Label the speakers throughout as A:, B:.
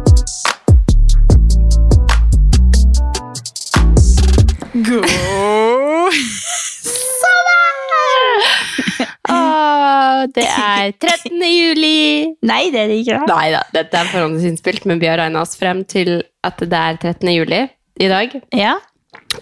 A: Det er 13. juli!
B: Nei, det er det ikke. da.
A: Nei da, dette er forhåndsinnspilt, men vi har regna oss frem til at det er 13. juli i dag.
B: Ja.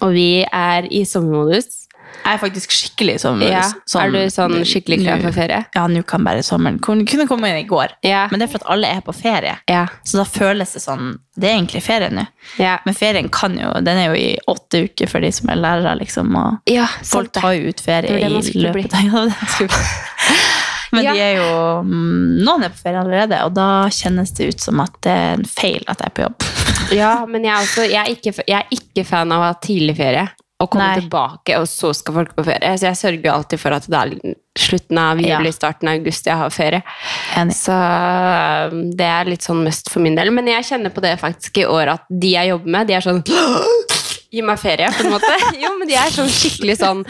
A: Og vi er i sommermodus.
B: Jeg er faktisk skikkelig som
A: Ja. er du sånn skikkelig klar for ferie?
B: Ja, nå kan bare sommeren. Kunne kunne komme inn i går.
A: Ja.
B: Men det er for at alle er på ferie.
A: Ja.
B: Så da føles det sånn Det er egentlig ferie nå.
A: Ja.
B: Men ferien kan jo Den er jo i åtte uker for de som er lærere, liksom. Og
A: ja
B: folk tar jo ut ferie
A: Det var det man
B: i
A: skulle bli.
B: løpet av Men
A: Ja.
B: de er jo mm, Noen er på ferie allerede, og da kjennes det ut som at det er en feil at jeg er på jobb.
A: Ja, men jeg er, også, jeg, er ikke, jeg er ikke fan av å ha tidlig ferie. Og komme
B: Nei.
A: tilbake, og så skal folk på ferie. Så jeg sørger jo alltid for at det er slutten av
B: Ja.
A: juli, starten av august jeg har ferie.
B: Enig.
A: Så um, det er litt sånn must for min del. Men jeg kjenner på det faktisk i år at de jeg jobber med, de er sånn Gi meg ferie, på en måte. Jo, men de er sånn skikkelig sånn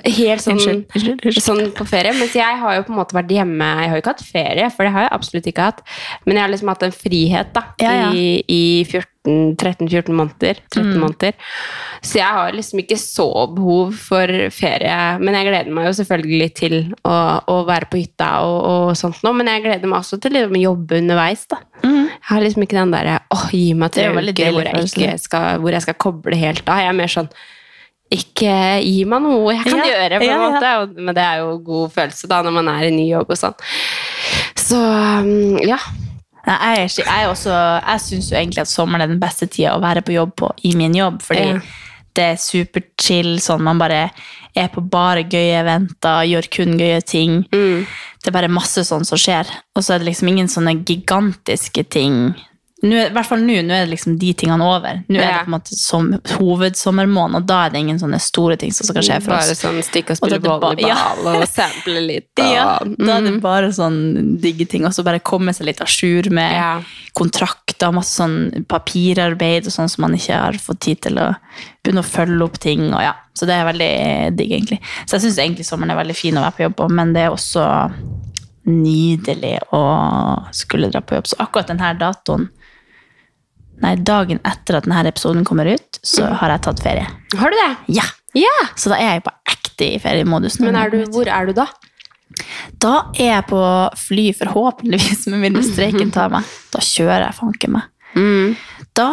A: Helt sånn
B: Unnskyld, unnskyld, unnskyld.
A: sånn på ferie. Mens jeg har jo på en måte vært hjemme Jeg har jo ikke hatt ferie, for det har jeg absolutt ikke hatt. Men jeg har liksom hatt en frihet da,
B: Ja, ja.
A: i, i 14 13-14 måneder, 13
B: Mm.
A: måneder. Så jeg har liksom ikke så behov for ferie. Men jeg gleder meg jo selvfølgelig til å, å være på hytta og, og sånt nå. Men jeg gleder meg også til liksom å jobbe underveis, da. Jeg har liksom ikke den derre åh, gi
B: Det
A: meg tre
B: er jo veldig
A: uker hvor
B: deilig
A: jeg,
B: følelse.
A: ikke skal, hvor jeg skal koble helt av. Jeg er mer sånn ikke gi meg noe jeg kan
B: Ja,
A: gjøre, på en
B: ja, ja.
A: måte. Og- Men det er jo god følelse da, når man er i ny jobb og sånn. Så um, ja.
B: Nei, jeg er ikke- jeg er også- jeg syns jo egentlig at sommeren er den beste tida å være på jobb på i min jobb, fordi
A: Ja.
B: det er superchill, sånn man bare er på bare gøye eventer, gjør kun gøye ting.
A: Mm.
B: Det er bare masse sånn som skjer, og så er det liksom ingen sånne gigantiske ting. Nå, er- I hvert fall nå, nå er det liksom de tingene over. Nå er
A: Ja.
B: det på en måte som hovedsommermåned, og da er det ingen sånne store ting som skal skje for
A: Bare
B: oss.
A: sånn stikke og
B: Og da
A: spille
B: er det ba-
A: volleyball
B: ja.
A: og sample litt. Og, Mm.
B: Ja, da er det bare sånn digge ting, og så bare komme seg litt à jour med
A: Ja.
B: kontrakter, masse sånn papirarbeid og sånn som man ikke har fått tid til å begynne å følge opp ting, og ja. Så det er veldig digg, egentlig. Så jeg syns egentlig sommeren er veldig fin å være på jobb på, men det er også nydelig å skulle dra på jobb. Så akkurat denne datoen, nei, dagen etter at denne episoden kommer ut, så
A: Mm.
B: har jeg tatt ferie.
A: Har du det?
B: Ja!
A: Ja!
B: Så da er jeg på ekte i feriemodus. nå.
A: Men er du, hvor er du da?
B: Da er jeg på fly, forhåpentligvis, med mindre streiken tar meg. Da kjører jeg fanken meg. Mm. Da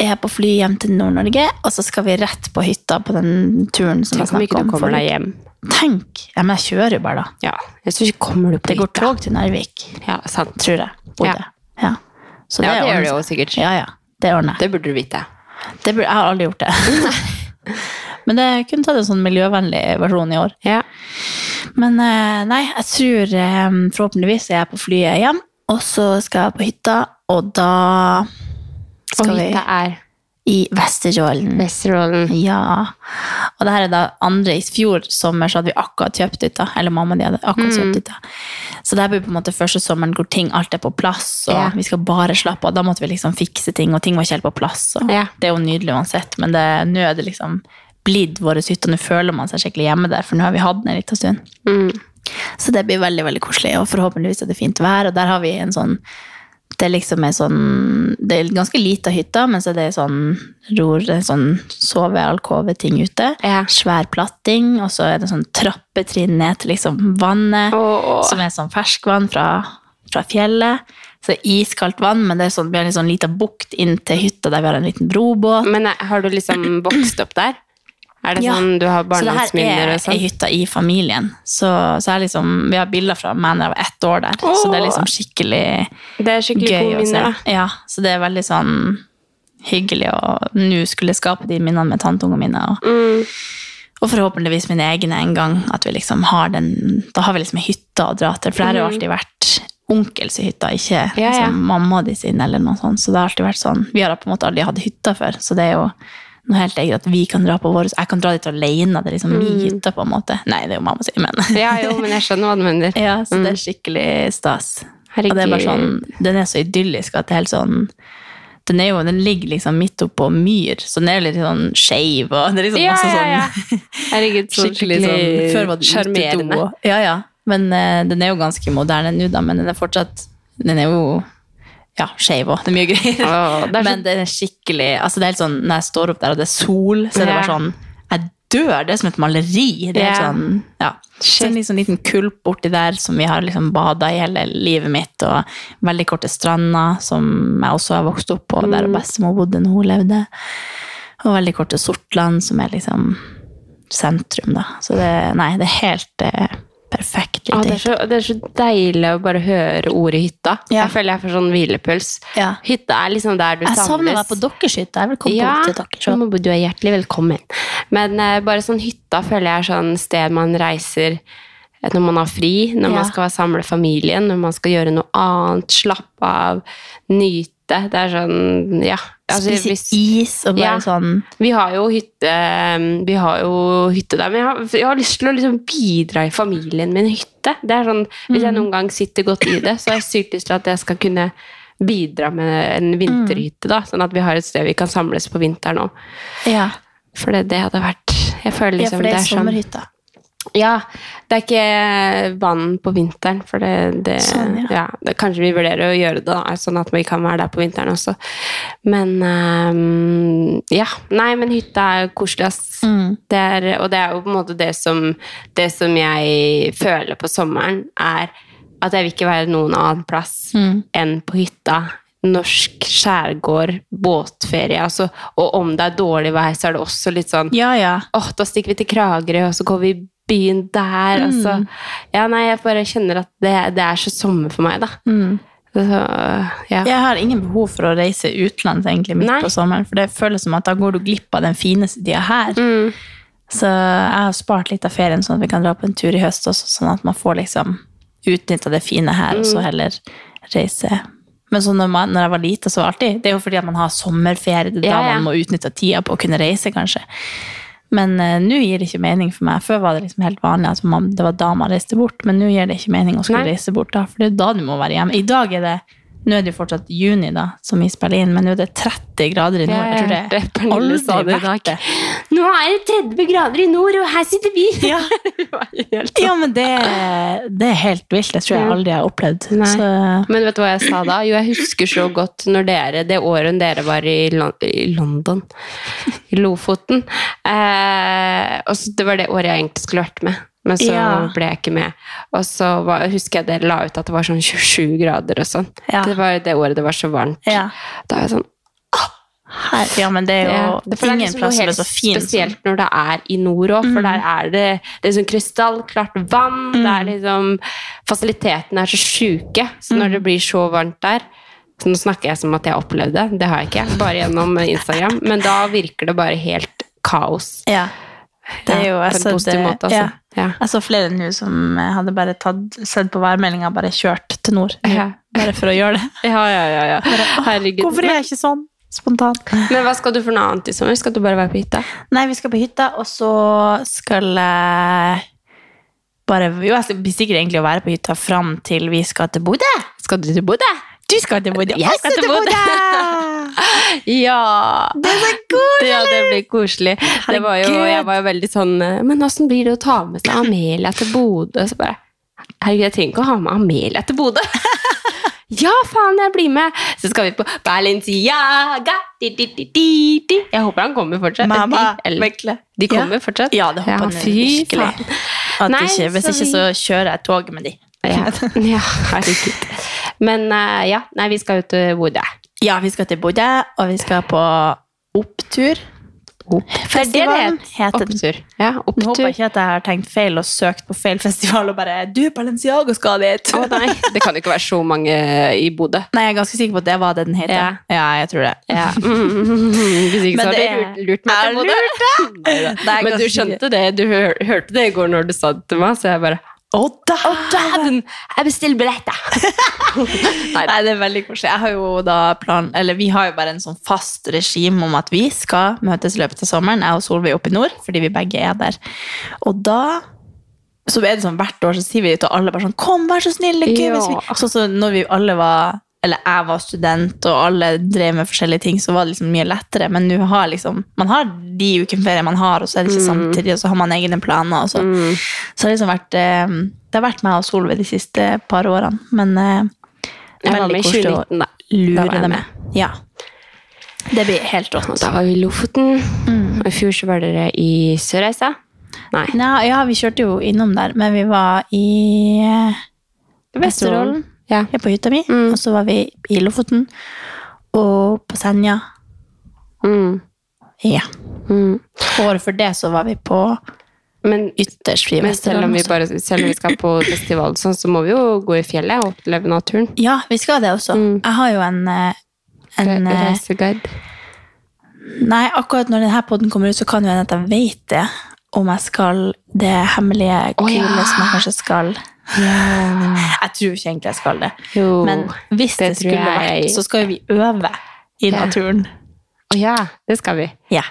B: er jeg på fly hjem til Nord-Norge, og så skal vi rett på hytta på den turen som jeg
A: Tenk om
B: snakket
A: ikke
B: om.
A: du kommer
B: forrige-
A: deg hjem.
B: Tenk! Ja, men jeg kjører jo bare, da.
A: Ja, jeg tror ikke kommer du på
B: Det går
A: hytta.
B: tog til Narvik,
A: Ja, sant.
B: tror jeg. Bodde.
A: Ja.
B: Ja. ja. Så
A: Ja, det gjør
B: ordner
A: du jo
B: seg.
A: sikkert.
B: Ja, ja. Det ordner jeg.
A: Det burde du vite.
B: Det burde- Jeg har aldri gjort det. Men det kunne tatt en sånn miljøvennlig versjon i år.
A: Ja.
B: Men eh, nei, jeg tror eh, forhåpentligvis er jeg på flyet hjem, og så skal jeg på hytta, og da
A: Og
B: skal vi
A: hytta er
B: i Vesterålen.
A: Vesterålen.
B: Ja. Og det her er da andre i fjor sommer, så hadde vi akkurat kjøpt hytta. Eller mamma de hadde akkurat
A: Mm.
B: kjøpt hytta. Så det her blir på en måte første sommeren hvor ting alt er på plass, og
A: Ja.
B: vi skal bare slappe av. Da måtte vi liksom fikse ting, og ting var ikke helt på plass. Og
A: Ja.
B: Det er jo nydelig uansett, men det, nå er det liksom blitt vår hytte, og nå føler man seg skikkelig hjemme der, for nå har vi hatt den en liten stund.
A: Mm.
B: Så det blir veldig veldig koselig, og forhåpentligvis er det fint vær. Og der har vi en sånn Det er liksom en sånn Det er ganske lita hytte, men så er det sånn ror, sånn sovealkove-ting ute.
A: Ja.
B: Svær platting, og så er det sånn trappetrinn ned til liksom vannet,
A: Åh.
B: som er sånn ferskvann fra, fra fjellet. Så iskaldt vann, men det er sånn, vi har en sånn lita bukt inn til hytta der vi har en liten brobåt.
A: Men eh, har du liksom vokst opp der? Er det
B: Ja.
A: sånn du har
B: Så det her
A: barndomsminner
B: er
A: og sånn?
B: i hytta i familien. Så, så jeg liksom, vi har bilder fra meg da jeg var ett år der. Så det er liksom skikkelig
A: Det er skikkelig
B: gøy å
A: gode
B: se.
A: minner, da.
B: Ja, så det er veldig sånn hyggelig å nå skulle skape de minnene med tanteungene mine. Og, og forhåpentligvis mine egne en gang. At vi liksom har den, da har vi liksom ei hytte å dra til. For det har jo alltid vært onkels hytta, ikke
A: Mm. Ja, ja.
B: liksom, mamma de sine eller noe sånt. Så det har alltid vært sånn. Vi har på en måte aldri hatt hytta før, så det er jo noe helt eget at vi kan dra på vår Jeg kan dra dit alene, det er liksom min
A: Mm.
B: hytte, på en måte. Nei, det er jo mamma sin, men
A: Ja, jo, men jeg skjønner hva du mener.
B: ja, så
A: Mm.
B: det er skikkelig stas.
A: Herregud.
B: Og det er bare sånn, den er så idyllisk at det er helt sånn den, er jo, den ligger liksom midt oppå myr, så den er jo litt sånn skeiv. Og det er liksom
A: Ja,
B: masse
A: ja,
B: sånn
A: ja. Herregud, så skikkelig
B: sånn- før var det
A: sjarmerende.
B: utedo og- Ja, ja. Men eh, den er jo ganske moderne nå, da, men den er fortsatt Den er jo ja, skeiv òg. Det er mye greier.
A: Åh, det er så-
B: Men den er skikkelig altså det er helt sånn, Når jeg står opp der, og det er sol, så er det
A: Ja.
B: bare sånn Jeg dør! Det er som et maleri. Det er helt
A: Ja.
B: sånn, ja. Så en liksom liten kulp borti der som vi har liksom bada i hele livet mitt, og veldig korte strander som jeg også har vokst opp på,
A: Mm.
B: der bestemor bodde når hun levde. Og veldig korte Sortland, som er liksom sentrum, da. Så det, nei, det er helt eh, perfekt.
A: Ja,
B: lite
A: det, er så, det er så deilig å bare høre ordet hytta.
B: Ja.
A: Jeg føler jeg får sånn hvilepuls.
B: Ja.
A: Hytta er liksom der du
B: Jeg savner deg på
A: samles.
B: deres hytte. Jeg vil komme
A: Ja,
B: bort til dere.
A: men du er hjertelig velkommen. Men eh, bare sånn hytta føler jeg er sånn sted man reiser eh, når man har fri, når
B: Ja.
A: man skal samle familien, når man skal gjøre noe annet, slappe av, nyte. Det er sånn, ja. Altså,
B: Spise
A: hvis-
B: is og bare
A: Ja.
B: sånn
A: vi har jo hytte, ehm, vi har jo hytte der, men jeg har, jeg har lyst til å liksom bidra i familien min hytte. Det er sånn,
B: Mm.
A: Hvis jeg noen gang sitter godt i det, så har jeg sykt lyst til at jeg skal kunne bidra med en vinterhytte. da, Sånn at vi har et sted vi kan samles på vinteren òg.
B: Ja,
A: For det, det hadde vært jeg føler
B: ja
A: liksom,
B: for det er
A: sånn-
B: sommerhytta.
A: ja, det er ikke vann på vinteren, for det, det,
B: Sånn, ja.
A: ja. det Kanskje vi vurderer å gjøre det, da, sånn at vi kan være der på vinteren også. Men ehm, ja. Nei, men hytta er koselig, ass.
B: Mm.
A: Det er, og det er jo på en måte det som, det som jeg føler på sommeren, er at jeg vil ikke være noen annen plass
B: Mm.
A: enn på hytta. Norsk skjærgård, båtferie. Altså, og om det er dårlig vær, så er det også litt sånn
B: Ja, ja.
A: åh, da stikker vi til Kragerø, og så går vi i byen der. og
B: Mm.
A: så- Ja, nei, jeg bare kjenner at det, det er så sommer for meg, da.
B: Mm.
A: Så, ja.
B: Jeg har ingen behov for å reise utenlands egentlig midt
A: Nei.
B: på sommeren, for det føles som at da går du glipp av den fineste tida her.
A: Mm.
B: Så jeg har spart litt av ferien sånn at vi kan dra på en tur i høst også, sånn at man får liksom utnytta det fine her, og
A: Mm.
B: så heller reise. Men så når, man, når jeg var lite, så var det alltid Det er jo fordi at man har sommerferie, det er da
A: Ja, ja.
B: man må utnytte tida på å kunne reise, kanskje. Men eh, nå gir det ikke mening for meg. Før var det liksom helt vanlig at man, det var da man reiste bort, men nå gir det ikke mening å skulle
A: Nei.
B: reise bort da, for det er jo da du må være hjemme. I dag er det nå er det jo fortsatt juni, da, som i Berlin, men nå er det 30 grader i nord. Jeg tror det
A: hørte Pernille sa det i dag. Nå er det 30 grader i nord, og her sitter vi!
B: Ja.
A: Det var helt sånn.
B: Ja, men det, det er helt vilt. Det tror jeg
A: Ja.
B: aldri jeg har opplevd.
A: Nei.
B: Så,
A: Men vet du hva jeg sa da? Jo, jeg husker så godt når dere, det året dere var i, Lon i London, i Lofoten. Eh, og så det var det året jeg egentlig skulle vært med. Men så
B: Ja.
A: ble jeg ikke med. Og så var, husker jeg dere la ut at det var sånn 27 grader og sånn.
B: Ja.
A: Det var jo det året det var så varmt.
B: ja.
A: Da var jeg sånn,
B: Her, ja, men det er jo
A: Ja, for det er
B: ingen
A: liksom noe
B: plass som er
A: helt
B: så fin. som- Mhm.
A: Spesielt når det er i nord òg, for der er det, det er sånn krystallklart vann. Det er liksom, fasilitetene er så sjuke, så når
B: Mhm.
A: det blir så varmt der så Nå snakker jeg som at jeg opplevde det, det har jeg ikke, bare gjennom Instagram, men da virker det bare helt kaos.
B: Ja. Det er
A: Ja,
B: jo,
A: på
B: jeg
A: en
B: så
A: positiv
B: det-
A: måte,
B: ja.
A: altså. Ja.
B: Jeg så flere nå som eh, hadde bare tatt, sett på værmeldinga og bare kjørt til nord.
A: Ja.
B: Bare for å gjøre det.
A: Ja, ja, ja, ja. Herregud.
B: Hvorfor er jeg ikke sånn? Spontant.
A: Men hva skal du for noe annet i sommer? Skal du bare være på hytta?
B: Nei, vi skal på hytta, og så skal jeg bare Jo, jeg skal- blir sikkert egentlig å være på hytta fram til vi skal til Bodø.
A: Skal du til Bodø?
B: Du skal til Bodø,
A: Jeg skal til
B: Bodø!
A: Ja!
B: Det er så koselig!
A: Ja, det blir koselig. Det var jo,
B: Herregud.
A: jeg var jo veldig sånn eh, Men åssen blir det å ta med seg Amelia til Bodø? Så bare Herregud, jeg trenger ikke å ha med Amelia til Bodø. Ja, faen, jeg blir med! Så skal vi på Balenciaga di, di, di, di, di. Jeg håper han kommer fortsatt.
B: Mamma,
A: de, eller,
B: virkelig.
A: de kommer fortsatt?
B: Ja, det håper han
A: fy
B: virkelig.
A: faen.
B: At
A: Nei,
B: ikke, hvis
A: så
B: ikke,
A: vi-
B: så kjører jeg toget med de.
A: Ja, ja, herregud. Men eh, ja, nei, vi skal jo til Bodø.
B: Ja, vi skal til Bodø, og vi skal på opptur.
A: Det er det det
B: Festivalen heter den.
A: Opptur. Ja,
B: Nå håper jeg
A: opptur.
B: ikke at jeg har tenkt feil og søkt på feil festival og bare Du, Balenciago skal dit!
A: Å nei, det kan jo ikke være så mange i Bodø.
B: Nei, jeg er ganske sikker på at det var det den het.
A: Ja.
B: jeg tror det.
A: Ja. Hvis ikke
B: Men
A: så har
B: det
A: du
B: er-
A: lurt, lurt meg
B: Jeg
A: til Bodø. Neida.
B: Det er
A: Men du
B: ganske-
A: skjønte det, du hør, hørte det i går når du sa det til meg, så jeg bare
B: Å, da!
A: Dæven, jeg bestiller billetter!
B: Nei, det er veldig koselig. Jeg har jo da plan, eller Vi har jo bare en sånn fast regime om at vi skal møtes i løpet av sommeren, jeg og Solveig oppe i nord, fordi vi begge er der. Og da så er det sånn hvert år så sier vi til alle bare sånn Kom, vær så snill! det er gøy hvis vi-»
A: Ja.
B: Sånn som når vi alle var eller jeg var student, og alle drev med forskjellige ting, så var det liksom mye lettere. Men nå har liksom, man har de ukene ferie man har, og så er det ikke samtidig, og så har man egne planer. Og så. så det har liksom vært, eh, det har vært meg og Solveig de siste par årene. Men eh,
A: Jeg var med i 2019, da. Da var
B: lure
A: jeg
B: dem med. Ja. Det blir helt
A: Og
B: rått. Mm.
A: da var vi i Lofoten. Og I fjor så var dere i Sørreisa. Nei.
B: Nei, ja, vi kjørte jo innom der, men vi var i eh, Vesterålen.
A: Ja.
B: Jeg er på hytta mi,
A: Mm.
B: og så var vi i Lofoten og på Senja.
A: Mm.
B: Ja.
A: Mm.
B: Året før det så var vi på
A: Men,
B: ytterst i
A: men selv, om
B: Vesterålen.
A: vi
B: også.
A: bare, selv om vi skal på festival, sånn, så må vi jo gå i fjellet og oppleve naturen.
B: Ja, vi skal det også.
A: Mm.
B: Jeg har jo en, eh, en
A: Re
B: eh,
A: reiseguide.
B: Nei, akkurat når denne podden kommer ut, så kan jo hende at jeg vet det. Om jeg skal det hemmelige, kule
A: Å, ja.
B: som jeg kanskje skal. Jeg tror ikke egentlig jeg skal det.
A: Jo.
B: Men hvis det,
A: Oh, det tror
B: skulle
A: jeg.
B: vært, så skal jo vi øve i
A: Ja.
B: naturen.
A: Å ja, det skal vi.
B: Ja.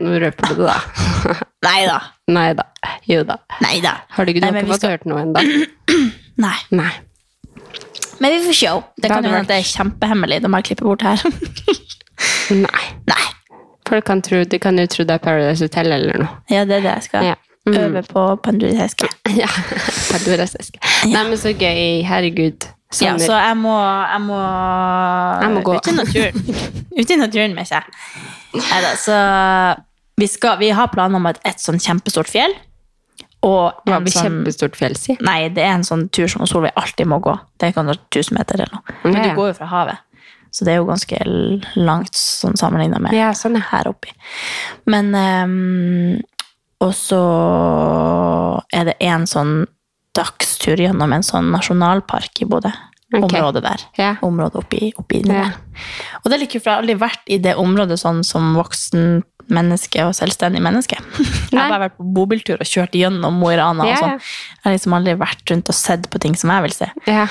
A: Nå røper du det, da.
B: Nei da.
A: Nei da. Jo da.
B: Nei da.
A: Har du ikke, du
B: Nei,
A: har
B: men
A: ikke
B: vi
A: fått
B: skal-
A: hørt noe ennå?
B: Nei.
A: Nei.
B: Men vi får se. Det
A: Det
B: kan
A: hadde
B: jo hende at det er
A: vært-
B: kjempehemmelig. Det må jeg klippe bort her.
A: Nei.
B: Nei.
A: Folk kan tro, de kan jo tro det er Paradise Hotel eller noe.
B: Ja, det er det jeg skal
A: Ja. Mm.
B: øve på panduriseske.
A: Ja. Paradisisk. Nei, men så gøy. Herregud.
B: Ja,
A: Sommer.
B: så jeg må, jeg må,
A: sånn Jeg må gå.
B: ut i naturen. ut i naturen med seg. Neida, så vi, skal, vi har planer om et, et sånn kjempestort fjell. Og
A: det
B: en
A: blir
B: sånn,
A: kjempestort fjell, si.
B: nei, det er en sånn tur som Solveig alltid må gå. Det kan være 1000 meter eller noe. Men
A: Ja, ja.
B: du går jo fra havet. Så det er jo ganske langt sånn sammenlignet med
A: Ja, sånn, ja.
B: her oppi. Men ehm, Og så er det en sånn dagstur gjennom en sånn nasjonalpark i Bodø.
A: Ok.
B: Området der.
A: Ja.
B: Området oppi, oppi inni
A: Ja.
B: der. Og det er litt kult, for jeg har aldri vært i det området sånn som voksen menneske og selvstendig menneske. Jeg har
A: Nei.
B: bare vært på bobiltur og kjørt gjennom Mo i Rana.
A: Ja,
B: og
A: ja.
B: sånn. Jeg har liksom aldri vært rundt og sett på ting som jeg vil se.
A: ja.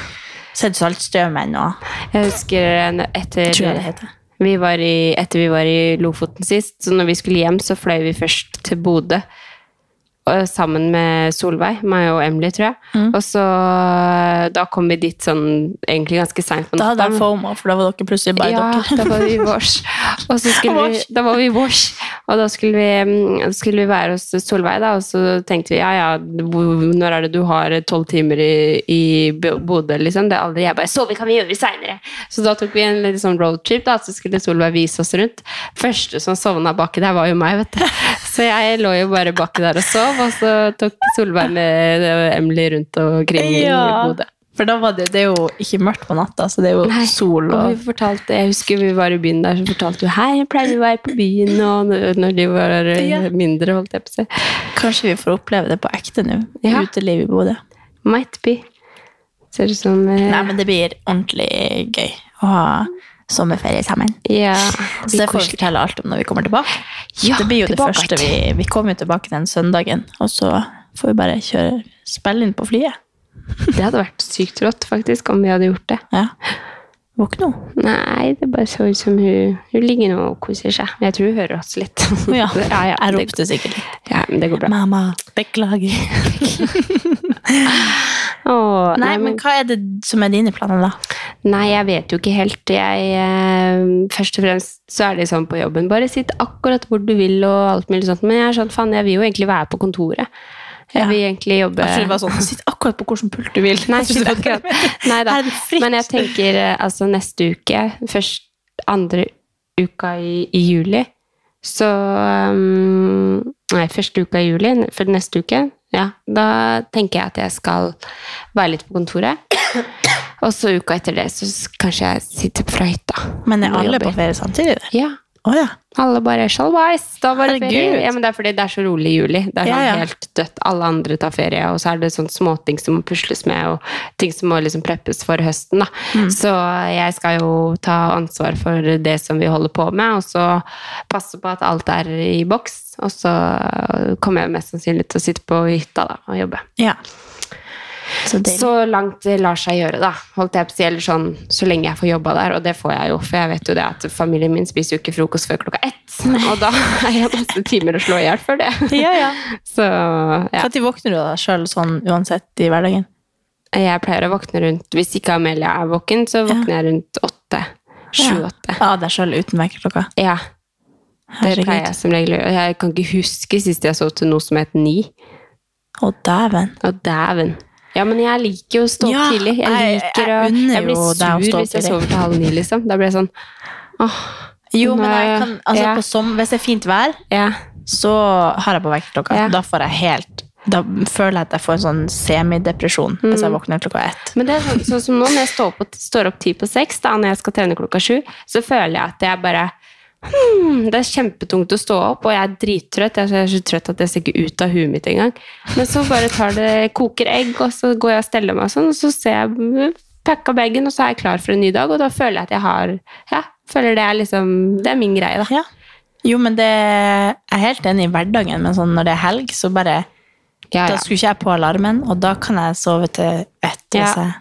B: Sett Saltstraumen og
A: Jeg husker en- etter
B: Tror jeg det heter.
A: vi var i, etter vi var i Lofoten sist, så når vi skulle hjem, så fløy vi først til Bodø. og- Sammen med Solveig, meg og Emily, tror jeg.
B: Mm.
A: Og så Da kom vi dit sånn egentlig ganske seint på
B: Da hadde
A: natta.
B: jeg FOMO, for da var dere plutselig bare
A: Ja,
B: dere.
A: da var vi i vårs. Og så skulle vi,
B: Vårs.
A: da var vi i vårs. Og da skulle vi, mm, skulle vi være hos Solveig, da, og så tenkte vi ja, ja, hvor- når er det du har tolv timer i, i Bo- Bodø, liksom? Det er aldri jeg bare Så vi kan vi gjøre seinere! Så da tok vi en litt sånn roadtrip, da, så skulle Solveig vise oss rundt. Første som sovna baki der, var jo meg, vet du. Så jeg lå jo bare baki der og sov, og så tok Solveig med eh, Emily rundt omkring i Bodø.
B: For da var det, det er jo ikke mørkt på natta, så det er jo
A: Nei,
B: sol
A: Og
B: og
A: vi fortalte, jeg husker vi var i byen der, så fortalte du hei, jeg pleier å være på byen og n- når de var eh,
B: Ja.
A: mindre, holdt jeg på å si.
B: Kanskje vi får oppleve det på ekte nå.
A: Ja.
B: Uteliv i Bodø.
A: Might be. Ser ut som eh,
B: Nei, men det blir ordentlig gøy å ha sommerferie sammen.
A: ja,
B: Så det får vi fortelle alt om når vi kommer tilbake.
A: Ja,
B: det blir jo det
A: tilbake.
B: første vi Vi kommer jo tilbake den søndagen, og så får vi bare kjøre spille inn på flyet.
A: Det hadde vært sykt rått, faktisk, om vi hadde gjort det.
B: Ja. Våkne nå.
A: Nei, det bare så ut som hun, hun ligger nå og koser seg. Men jeg tror hun hører oss litt.
B: Å Ja.
A: ja, ja,
B: Jeg
A: det,
B: ropte sikkert litt.
A: ja, men det går bra.
B: Mamma, beklager.
A: Åh,
B: Nei, men hva er det som er dine planer, da?
A: Nei, jeg vet jo ikke helt. Jeg, eh, først og fremst så er det sånn på jobben. Bare sitt akkurat hvor du vil og alt mulig sånt. Men jeg er sånn, faen, jeg vil jo egentlig være på kontoret. Jeg
B: Ja.
A: vil egentlig jobbe
B: Jeg tror det var sånn, Sitt akkurat på hvilken pult du vil.
A: Nei,
B: Jeg tror det
A: sitt
B: var
A: akkurat.
B: det.
A: Nei da.
B: Her er det fritt.
A: Men jeg tenker eh, altså neste uke, først andre uka i, i juli, så um, Nei, første uka i juli, for neste uke, ja. Da tenker jeg at jeg skal være litt på kontoret. Og så uka etter det, så s- kanskje jeg sitter fra hytta.
B: Men er
A: og
B: alle på
A: jobber.
B: ferie samtidig? da?
A: Ja.
B: Å ja.
A: Alle bare sjalvais. Da var det
B: Herregud.
A: ferie. Ja, men det er fordi det er så rolig i juli. Det er sånn
B: Ja, ja.
A: helt dødt. Alle andre tar ferie, og så er det sånn småting som må pusles med, og ting som må liksom preppes for høsten, da.
B: Mm.
A: Så jeg skal jo ta ansvar for det som vi holder på med, og så passe på at alt er i boks. Og så kommer jeg mest sannsynlig til å sitte på hytta da, og jobbe.
B: ja. Så deilig.
A: Så langt det lar seg gjøre, da. Holdt jeg på å si, eller sånn, Så lenge jeg får jobba der, og det får jeg jo. For jeg vet jo det at familien min spiser jo ikke frokost før klokka ett. Og da er jeg masse timer å slå i hjel før det.
B: ja, ja.
A: Så ja.
B: Når våkner du deg sjøl sånn uansett i hverdagen?
A: Jeg pleier å våkne rundt Hvis ikke Amelia er våken, så våkner jeg rundt åtte. Sju-åtte.
B: Av deg sjøl uten vekkerklokka?
A: Ja. Det pleier jeg
B: Herregud.
A: som regel å gjøre. Jeg kan ikke huske sist jeg sov til noe som het ni.
B: Å, dæven.
A: Å, dæven. Ja, men jeg liker jo å stå opp
B: Ja,
A: tidlig. Jeg
B: jeg- jeg
A: liker å
B: unner
A: Jeg blir
B: jo deg å
A: sur
B: stå opp
A: hvis jeg
B: tidlig.
A: sover til halv ni, liksom. Da blir jeg sånn åh,
B: Jo, men
A: Nei,
B: jeg kan, altså,
A: ja.
B: på som, hvis det er fint vær,
A: ja.
B: så har jeg på vekkerklokka.
A: Ja.
B: Da får jeg helt da føler jeg at jeg får en sånn semidepresjon hvis
A: Mm.
B: jeg våkner klokka ett.
A: Men det er sånn, sånn som nå, når jeg står, på, står opp ti på seks, da, når jeg skal trene klokka sju, så føler jeg at jeg bare hmm, Det er kjempetungt å stå opp, og jeg er drittrøtt. Jeg er så- jeg er så trøtt at jeg ser ikke ut av huet mitt engang. Men så bare tar det, koker egg, og så går jeg og steller meg og sånn, og så ser jeg mm, pakka bagen, og så er jeg klar for en ny dag, og da føler jeg at jeg har Ja, føler det er liksom Det er min greie, da.
B: Ja. Jo, men det, jeg er helt enig i hverdagen, men sånn når det er helg, så bare
A: Ja,
B: Da
A: ja.
B: skulle ikke jeg på alarmen, og da kan jeg sove til ett. hvis
A: Ja.
B: jeg-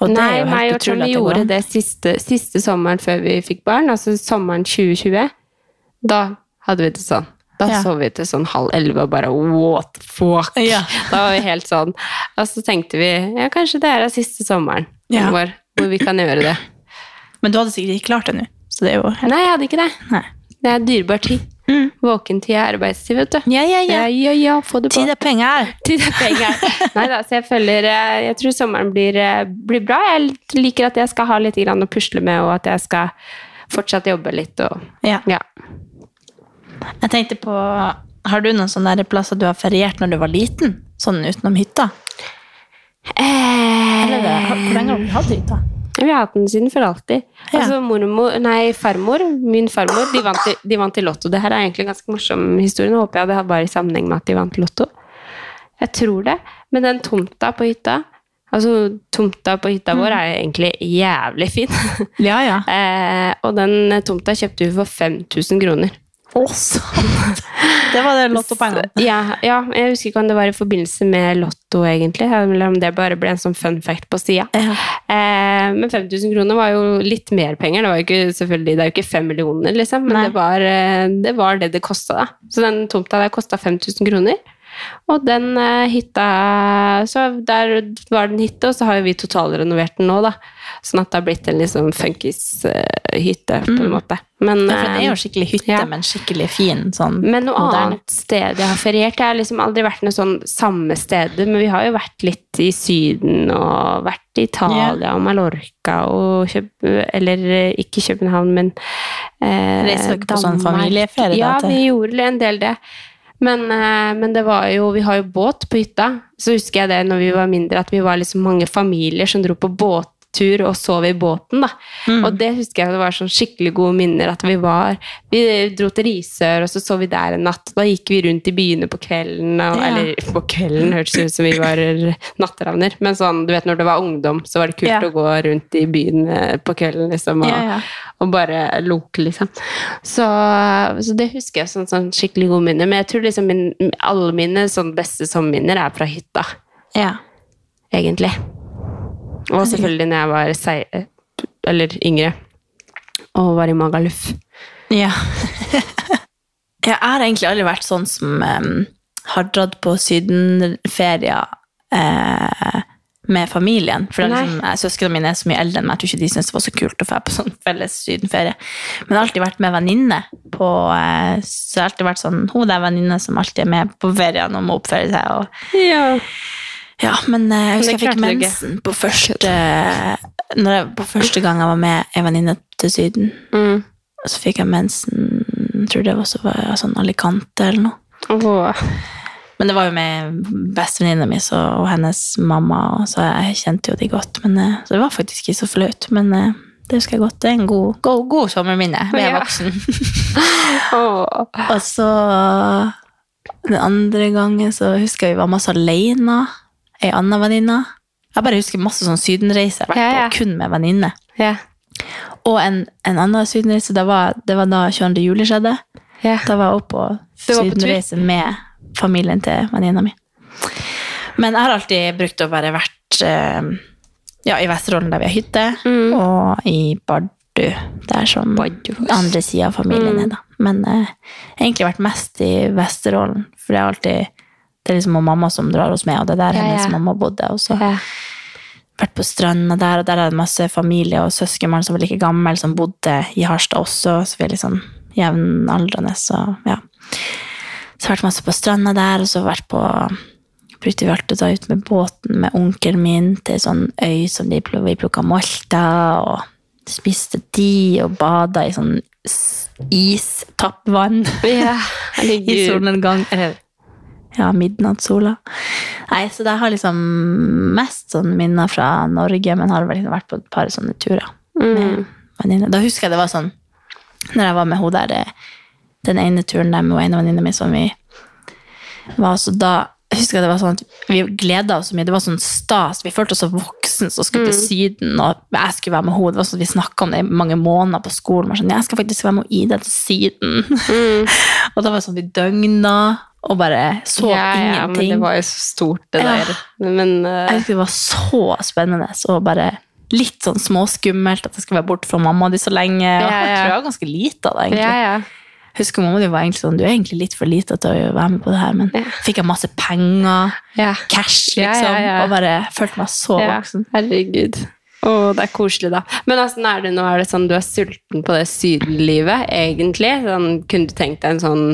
B: Og det er
A: Nei,
B: jo
A: meg
B: helt
A: og Tommy
B: utrolig at det går
A: gjorde
B: an.
A: det siste, siste sommeren før vi fikk barn, altså sommeren 2020. Da hadde vi det sånn. Da
B: Ja.
A: sov vi til sånn halv elleve og bare what the fuck?
B: Ja.
A: Da var vi helt sånn. Og så tenkte vi ja, kanskje det er den siste sommeren
B: Ja.
A: vår hvor vi kan gjøre det.
B: Men du hadde sikkert ikke klart det nå. Så det er jo helt...
A: Nei, jeg hadde ikke det.
B: Nei.
A: Det er dyrebar tid.
B: Mm.
A: Våkentid er arbeidstid, vet du.
B: Ja, ja, ja.
A: Ja, ja, ja, få det på.
B: Tid er penger.
A: Tid er penger. Nei da, så jeg følger eh, Jeg tror sommeren blir, eh, blir bra. Jeg liker at jeg skal ha litt grann å pusle med, og at jeg skal fortsatt jobbe litt og
B: Ja.
A: Ja.
B: Jeg tenkte på Har du noen sånne der plasser du har feriert når du var liten? Sånn utenom hytta? Eller,
A: Eh,
B: har- hvor lenge har du hatt hytta?
A: vi har hatt den siden for alltid.
B: Ja.
A: Altså mormor, nei, farmor, min farmor, de vant, i- de vant i Lotto. Det her er egentlig en ganske morsom historie. Nå håper jeg det var i sammenheng med at de vant Lotto. Jeg tror det. Men den tomta på hytta Altså, tomta på hytta
B: Mm.
A: vår er egentlig jævlig fin.
B: Ja, ja.
A: Eh, og den tomta kjøpte vi for 5000 kroner.
B: Å, sant! Det var det lottopengene.
A: Så- Ja, ja, jeg husker ikke om det var i forbindelse med Lotto, egentlig. Eller om det bare ble en sånn fun fact på sida.
B: Ja.
A: Eh, men 5000 kroner var jo litt mer penger. Det, var jo ikke, selvfølgelig, det er jo ikke fem millioner, liksom, men
B: Nei.
A: det var, eh, det var det det kosta. da. Så den tomta der kosta 5000 kroner. Og den eh, hytta Så der var den hytte, og så har jo vi totalrenovert den nå, da. Sånn at det har blitt en liksom funkis-hytte, på en måte. Men,
B: Mm. Ja, for det er jo
A: eh,
B: skikkelig hytte,
A: Ja.
B: men skikkelig fin. Sånn
A: men noe
B: moderne.
A: annet sted jeg har feriert Jeg har liksom aldri vært noe sånn samme sted, men vi har jo vært litt i Syden og vært i Italia og Mallorca og Køb Eller eh, ikke København, men eh,
B: Reiser dere på sånn familieferie da,
A: Ja,
B: til-
A: vi gjorde en del det. Men, eh, men det var jo, vi har jo båt på hytta. Så husker jeg det når vi var mindre, at vi var liksom mange familier som dro på båttur og sov i båten. da.
B: Mm.
A: Og det husker jeg det var sånn skikkelig gode minner. at Vi var, vi dro til Risør, og så sov vi der en natt. Da gikk vi rundt i byene på kvelden. Og,
B: Ja.
A: Eller på kvelden hørtes det ut som vi var natteravner. Men sånn, du vet, når det var ungdom, så var det kult
B: Ja.
A: å gå rundt i byen eh, på kvelden. liksom, og
B: Ja, ja.
A: og bare loke, liksom. Så, så det husker jeg som sånn skikkelig gode minner. Men jeg tror liksom min, alle mine sånn beste sommerminner er fra hytta,
B: Ja.
A: egentlig. Og selvfølgelig når jeg var sei, eller yngre og var i Magaluf.
B: Ja. jeg har egentlig aldri vært sånn som em, har dratt på sydenferier eh, med familien. For det er
A: Nei.
B: liksom, eh, Søsknene mine er så mye eldre enn meg, jeg tror ikke de syntes det var så kult å dra på sånn felles sydenferie. Men jeg har alltid vært med venninne på eh, Så jeg har alltid vært sånn Hun der venninne som alltid er med på feriene og må oppføre seg. og
A: Ja.
B: ja, men eh, jeg husker
A: det
B: jeg fikk
A: klarte du ikke.
B: mensen på første, når jeg, på første gang jeg var med en venninne til Syden.
A: Mm.
B: Så fikk jeg mensen, jeg tror det var, så var jeg sånn Alicante eller noe.
A: Åh.
B: Men det var jo med bestevenninna mi så- og hennes mamma, og så jeg kjente jo de godt. Men, eh, så det var faktisk ikke så flaut, men eh, det husker jeg godt. Det er en god, god, god sommerminne med
A: Ja.
B: voksen.
A: Åh.
B: og så den andre gangen så husker jeg vi var masse alene, ei anna venninne. Jeg bare husker masse sånn sydenreiser jeg har vært
A: Ja, ja.
B: på, kun med venninne.
A: Ja.
B: Og en, en annen sydenreise, det var, det var da 22. juli skjedde.
A: Ja.
B: Da var jeg oppe på
A: Du var på tur?
B: sydenreise med familien til venninna mi. Men jeg har alltid brukt å bare vært eh, ja, i Vesterålen, der vi har hytte,
A: Mm.
B: og i Bardu, der som andre sida av familien
A: Mm.
B: er, da. Men eh, jeg har egentlig vært mest i Vesterålen, for det er alltid det er liksom mamma som drar oss med, og det er der
A: Ja,
B: hennes
A: ja.
B: mamma bodde. Og så
A: Ja.
B: vært på stranda der, og der er det masse familie og søskenbarn som var like gammel, som bodde i Harstad også, så vi er liksom jevnaldrende, så ja. Så vært masse på stranda der, og så vært på brukte vi alltid å ta ut med båten med onkelen min til sånn øy som de pl- vi plukka molter, og spiste de, og bada i sånn s- is, tappvann
A: Ja,
B: i
A: herregud.
B: solnedgang. Eller ja, midnattssola. Nei, så jeg har liksom mest sånn minner fra Norge, men har vel liksom vært på et par sånne turer.
A: Mm.
B: venninne. Da husker jeg det var sånn Når jeg var med henne der eh, Den ene turen der med hun ene venninna mi som vi var så da husker jeg det var sånn at Vi gleda oss så mye. Det var sånn stas. Vi følte oss så voksen som skulle
A: Mm.
B: til Syden. Og jeg skulle være med henne. Det var sånn at Vi snakka om det i mange måneder på skolen. Var sånn, jeg skal faktisk være med Ida til Syden.
A: Mm.
B: og da var det sånn vi døgna og bare så
A: ja, ja, men
B: ingenting.
A: det var jo så stort, det
B: Ja.
A: der. Men eh,
B: Jeg husker det var så spennende og bare litt sånn småskummelt at jeg skulle være borte fra mamma di så lenge. Og
A: Ja,
B: Jeg
A: ja.
B: tror jeg var ganske lite av det, egentlig.
A: ja, ja.
B: Husker mamma di var egentlig sånn, du er egentlig litt for lite til å være med på det her, men fikk jeg masse penger,
A: ja.
B: cash,
A: Ja, ja,
B: liksom,
A: ja.
B: og bare følte meg så
A: Ja,
B: voksen.
A: herregud. Å, det er koselig, da. Men åssen er det nå? Er det sånn du er sulten på det sydenlivet, egentlig? Sånn, kunne du tenkt deg en sånn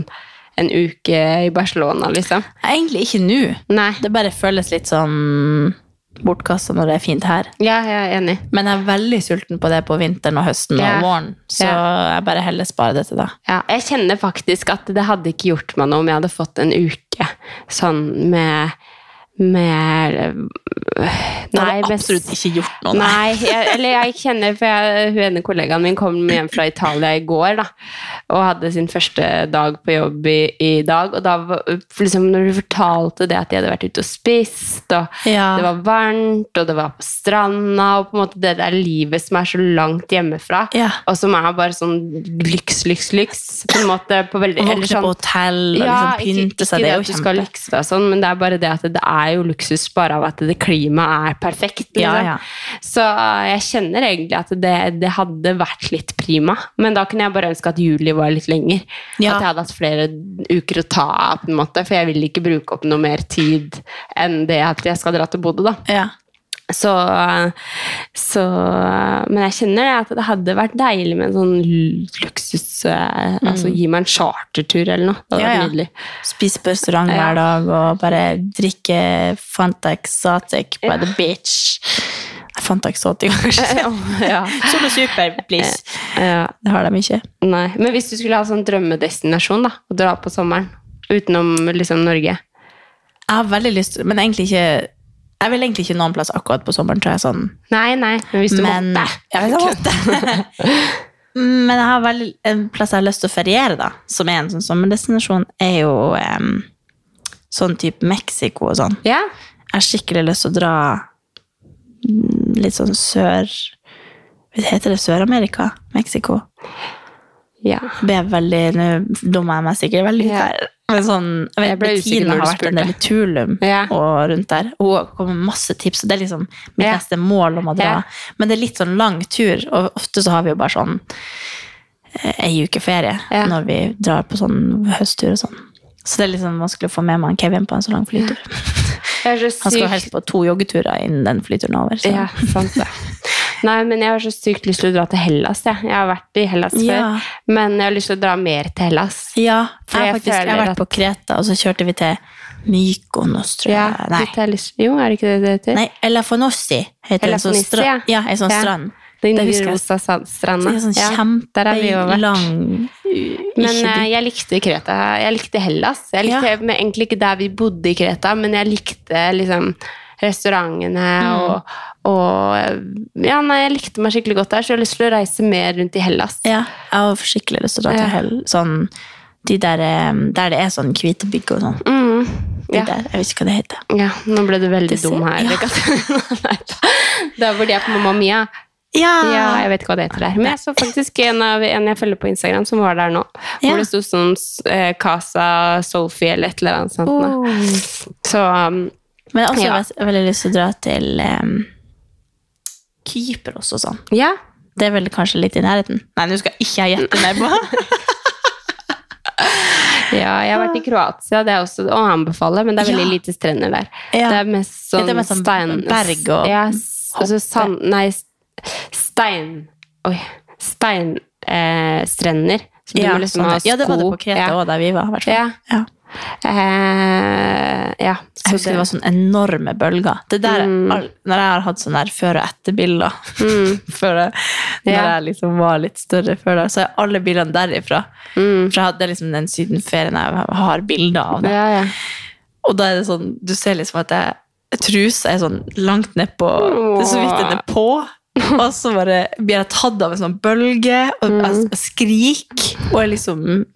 A: en uke i Barcelona, liksom?
B: Egentlig ikke nå.
A: Nei.
B: Det bare føles litt sånn bortkastet når det er fint her.
A: Ja, jeg er enig.
B: Men jeg er veldig sulten på det på vinteren og høsten
A: Ja.
B: og våren, så jeg bare heller sparer det til da.
A: Ja, jeg kjenner faktisk at det hadde ikke gjort meg noe om jeg hadde fått en uke sånn med med
B: Det
A: Nei,
B: har
A: med-
B: absolutt ikke gjort noe. nei.
A: Nei, jeg, eller jeg kjenner, for jeg, hun ene kollegaen min kom hjem fra Italia i går, da, og hadde sin første dag på jobb i, i dag, og da, var- liksom, når du fortalte det at de hadde vært ute og spist, og
B: Ja.
A: det var varmt, og det var på stranda, og på en måte det der livet som er så langt hjemmefra,
B: Ja.
A: og som er bare sånn lyks, lyks, lyks, på en måte, på veldig,
B: Å
A: eller
B: våkne
A: sånn-
B: på hotell og liksom
A: ikke-
B: pynte seg,
A: ikke
B: det er
A: at
B: jo
A: du skal
B: kjempe.
A: lykse deg og sånn, men det er bare det at det er jo luksus bare av at det klimaet er perfekt. Liksom.
B: Ja, ja.
A: Så jeg kjenner egentlig at det, det hadde vært litt prima, men da kunne jeg bare ønske at juli var litt lenger.
B: Ja.
A: At jeg hadde hatt flere uker å ta av, på en måte, for jeg vil ikke bruke opp noe mer tid enn det at jeg skal dra til Bodø, da.
B: Ja.
A: Så, så Men jeg kjenner det at det hadde vært deilig med en sånn luksus eh, Altså gi meg en chartertur eller noe.
B: Mm.
A: Det hadde
B: Ja,
A: vært
B: ja.
A: nydelig.
B: Spise på restaurant hver dag og bare drikke Fanta Exotic by the beach. Fanta Exotic, kanskje.
A: Eh, ja. Eh.
B: Solo Super, please.
A: ja.
B: Det har de ikke.
A: Nei. Men hvis du skulle ha sånn drømmedestinasjon da, å dra på sommeren, utenom liksom Norge
B: Jeg har veldig lyst til, men egentlig ikke jeg vil egentlig ikke noen plass akkurat på sommeren, tror jeg. sånn.
A: Nei, nei, men hvis du
B: Men,
A: måtte.
B: Ja, hvis jeg måtte. men jeg har veldig, en plass jeg har lyst til å feriere, da, som er en sånn sommerdestinasjon, er jo em, sånn type Mexico og sånn.
A: Ja.
B: jeg har skikkelig lyst til å dra mm, litt sånn sør Heter det Sør-Amerika? Mexico?
A: ja.
B: Ble jeg veldig, Nå dummer jeg meg sikkert veldig ut
A: Ja.
B: her. Men sånn, jeg
A: Jeg ble
B: vet,
A: usikker
B: Bettina
A: når du
B: har vært en
A: spurte.
B: del i Tulum
A: Ja.
B: og rundt der. Og Hun kommer med masse tips, og det er liksom mitt
A: Ja.
B: neste mål om å dra.
A: Ja.
B: Men det er litt sånn lang tur, og ofte så har vi jo bare sånn eh, ei uke ferie
A: Ja.
B: når vi drar på sånn høsttur og sånn. Så det er liksom vanskelig å få med meg en Kevin på en så lang flytur.
A: Jeg er så
B: Han skal jo
A: sykt-
B: helst på to joggeturer innen den flyturen er over. Så.
A: Ja, sant det. Nei, men jeg har så sykt lyst til å dra til Hellas. Jeg, jeg har vært i Hellas
B: Ja.
A: før, men jeg har lyst til å dra mer til Hellas.
B: Ja,
A: For
B: jeg, har
A: jeg
B: faktisk, jeg har
A: føler
B: vært på Kreta, og så kjørte vi til Mykonos, tror
A: Ja,
B: jeg. Nei,
A: dit har jeg lyst- Jo, er det ikke det det heter?
B: Nei Elafonossi heter en sånn
A: Elafonissi,
B: stra
A: ja.
B: ja, en sånn
A: Ja.
B: strand.
A: Den
B: Det husker jeg.
A: rosa sand- stranda.
B: Det er sånn
A: Ja, der har vi jo vært.
B: kjempelang
A: Men
B: ikke
A: eh, jeg likte Kreta. Jeg likte Hellas. Jeg likte men egentlig ikke der vi bodde i Kreta, men jeg likte liksom restaurantene
B: Mm.
A: og, og Ja, nei, jeg likte meg skikkelig godt der, så jeg har lyst til å reise mer rundt i Hellas.
B: Ja, jeg har skikkelig lyst til å dra
A: Ja.
B: til Hell. Sånn, de der, eh, der det er sånn hvite bygg og sånn.
A: Mm.
B: De
A: Ja.
B: der, jeg vet ikke hva det heter.
A: ja, nå ble du veldig
B: Det ser-
A: dum her.
B: ja.
A: Katarina. Da burde jeg på Mamma Mia.
B: Ja!
A: Ja, jeg vet ikke hva det heter der. Men jeg så faktisk en, av, en jeg følger på Instagram, som var der nå.
B: Ja.
A: Hvor det sto sånn eh, Casa Sophie eller et eller annet sånt.
B: Oh.
A: nå. Så um,
B: Men jeg har også
A: Ja.
B: veld- veldig lyst til å dra til eh, Kypros og sånn.
A: ja.
B: Det er vel kanskje litt i nærheten. Nei, nå skal ikke jeg gjette meg på.
A: ja, jeg har vært i Kroatia. Det er også å anbefale, men det er veldig
B: Ja.
A: lite strender der.
B: Ja.
A: Det er mest sånn,
B: Det er mest sånn
A: stein...
B: berg og
A: ja, s- altså sand... Nei, s- stein... Oi. Steinstrender. Eh, strender, så du
B: ja,
A: må liksom
B: sånn
A: ha
B: det.
A: sko.
B: ja, det var det på Kreta
A: Ja.
B: også, der vi var. i hvert fall.
A: Ja.
B: Ja.
A: Eh, ja.
B: Jeg husker det var sånne
A: Mm.
B: enorme bølger. Det der, er all, Når jeg har hatt sånne der før- og etterbilder før jeg, Når
A: Ja.
B: jeg liksom var litt større før da, så er alle bildene derifra.
A: Mm,
B: For jeg hadde liksom den sydenferien jeg har bilder av. Da.
A: Ja, ja.
B: Og da er det sånn, du ser liksom at jeg, trusa er sånn langt ned på, det er så vidt den er på. Og så bare blir jeg tatt av en sånn bølge, og
A: Mm.
B: jeg jeg skrik, og er liksom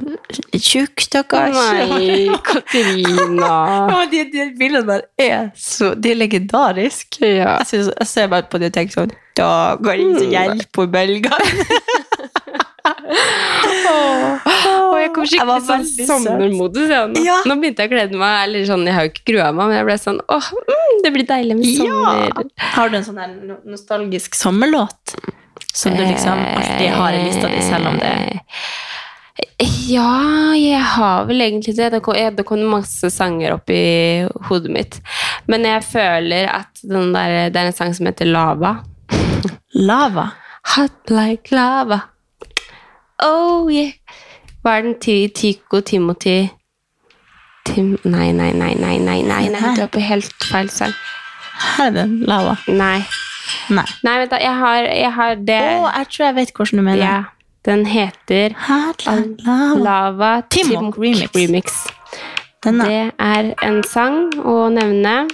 B: tjukk, stakkars.
A: Nei, Katarina.
B: Ja, men de, de bildene der er så, de er legendariske.
A: Ja.
B: Jeg, synes, jeg ser bare på det og tenker sånn, da går det
A: Mm.
B: ikke hjelp på bølgene.
A: Og jeg kom skikkelig
B: var
A: sånn
B: veldig søt.
A: sommermodus. Ja, nå.
B: Ja.
A: nå begynte jeg å glede meg. Eller sånn, jeg har jo ikke grua meg, men jeg ble sånn åh, mm, det blir deilig med sommer.
B: Ja. Har du en sånn her no- nostalgisk sommerlåt? Som du liksom alltid har i lista di, selv om det
A: Eh, Ja, jeg har vel egentlig det. Det kom, jeg- det kom masse sanger opp i hodet mitt. Men jeg føler at den der, det er en sang som heter Lava.
B: Lava.
A: Hot like lava. Oh yeah. Hva er den til Tico Timothy Tim Nei, nei, nei, nei, nei, nei, nei. Du er på helt feil sang.
B: Her er den lava.
A: Nei.
B: Nei.
A: Nei, vent da. Jeg har, jeg har det.
B: Å, jeg tror jeg vet hvordan du mener.
A: ja. Den heter
B: Her er lava.
A: Lava
B: Timok
A: Timok
B: remix.
A: remix.
B: Den er.
A: Det er en sang å nevne.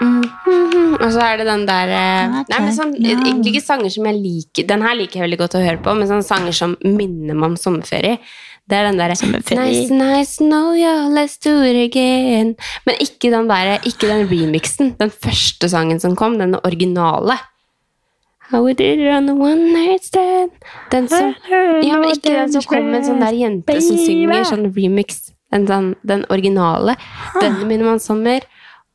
A: Mhm. Og så er det den der eh, Nei, men sånn, Egentlig ikke sanger som jeg liker. Den her liker jeg veldig godt å høre på, men sånne sanger som minner meg om sommerferie. Det er den derre
B: Sommerferie.
A: Nice, nice, no, yo, let's do it again. Men ikke den der, ikke den remixen. Den første sangen som kom, den originale. How we did it on the one night stand. Den som ja, men ikke den som kom med en sånn der jente som synger sånn remix. Den, den, den originale. Den minner meg om sommer.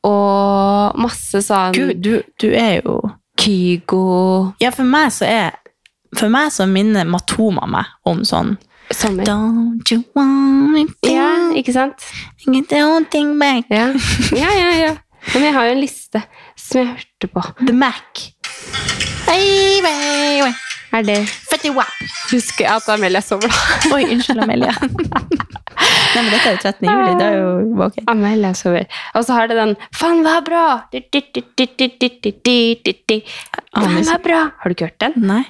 A: Og masse sånn
B: Gud, du, du er jo
A: Kygo
B: Ja, for meg så er For meg så minner Matoma meg om sånn
A: Sommer.
B: Don't you want me to
A: Ja, ikke sant?
B: get the whole thing back?
A: Ja, ja, ja. ja. Men jeg har jo en liste som jeg hørte på.
B: The Mac. Hey, hey, hey.
A: Er det
B: Fatty wap.
A: Husker jeg at Amelia sover, da?
B: Oi, unnskyld, Amelia. Nei, men dette er jo 13. juli. Det er jo ok.
A: Amelia sover. Og så har det den Faen, hva er bra! Du, du, du, du, du, du, du, du, du. Faen, hva er bra! Har du ikke hørt den?
B: Nei.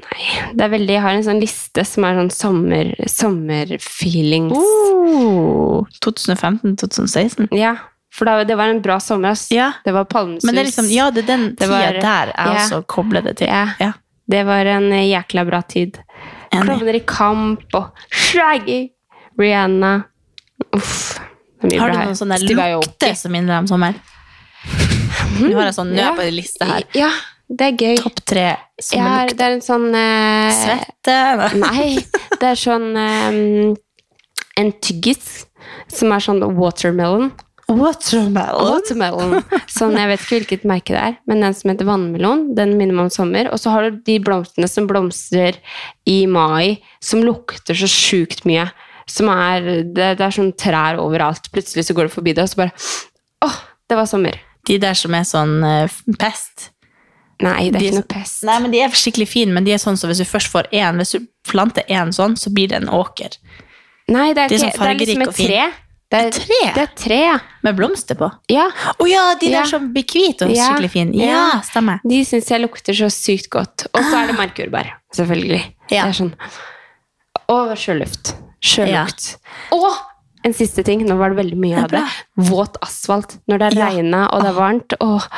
A: Nei, det er veldig, jeg har en sånn liste som er sånn sommer, sommerfeelings.
B: Oh, 2015-2016.
A: Ja, for da, det var en bra sommer. ass.
B: Ja.
A: Det var palmesus.
B: Men det er liksom, ja, det er den
A: Det
B: tida
A: var-
B: der jeg
A: ja.
B: også kobler det til.
A: Ja.
B: Ja.
A: Det var en eh, jækla bra tid.
B: Enig.
A: Klovner i kamp og Shaggy, Rihanna. Uff, det er mye
B: Har du
A: bra
B: noen
A: her.
B: sånne
A: Steve Aoki.
B: lukter som minner deg om sommer? Nå har jeg sånn, nå er
A: ja.
B: jeg på en liste her.
A: Ja, det er gøy.
B: Topp tre
A: Jeg har-
B: sommerlukt.
A: det er en sånn eh,
B: Svette.
A: Nei, det er sånn eh, en tyggis som er sånn watermelon.
B: Watermelon.
A: Watermelon. Sånn, jeg vet ikke hvilket merke det er, men den som heter vannmelon, den minner meg om sommer. Og så har du de blomstene som blomstrer i mai, som lukter så sjukt mye. Som er, det, det er sånn trær overalt. Plutselig så går du forbi det, og så bare Åh, det var sommer.
B: De der som er sånn eh, pest.
A: Nei, det er
B: De-
A: ikke noe pest.
B: Nei, men de er skikkelig fine, men de er sånn så hvis du først får en, hvis du planter en sånn, så blir det en åker.
A: Nei, det er,
B: de er sånn
A: ikke, det er liksom
B: fargerik og
A: et
B: fin.
A: tre. Det er,
B: Tre?
A: det er tre, ja.
B: Med blomster på.
A: ja.
B: Å ja, de der
A: Ja.
B: som blir hvite og
A: Ja.
B: skikkelig fine. Ja,
A: Ja.
B: stemmer.
A: De syns jeg lukter så sykt godt. Og så er det markurbær, selvfølgelig.
B: Ja.
A: Det er sånn. Og sjøluft. Sjølukt. Og en siste ting, nå var det veldig mye av
B: Det er
A: det. Våt asfalt. Når det har
B: Ja.
A: regna og det er varmt. Åh,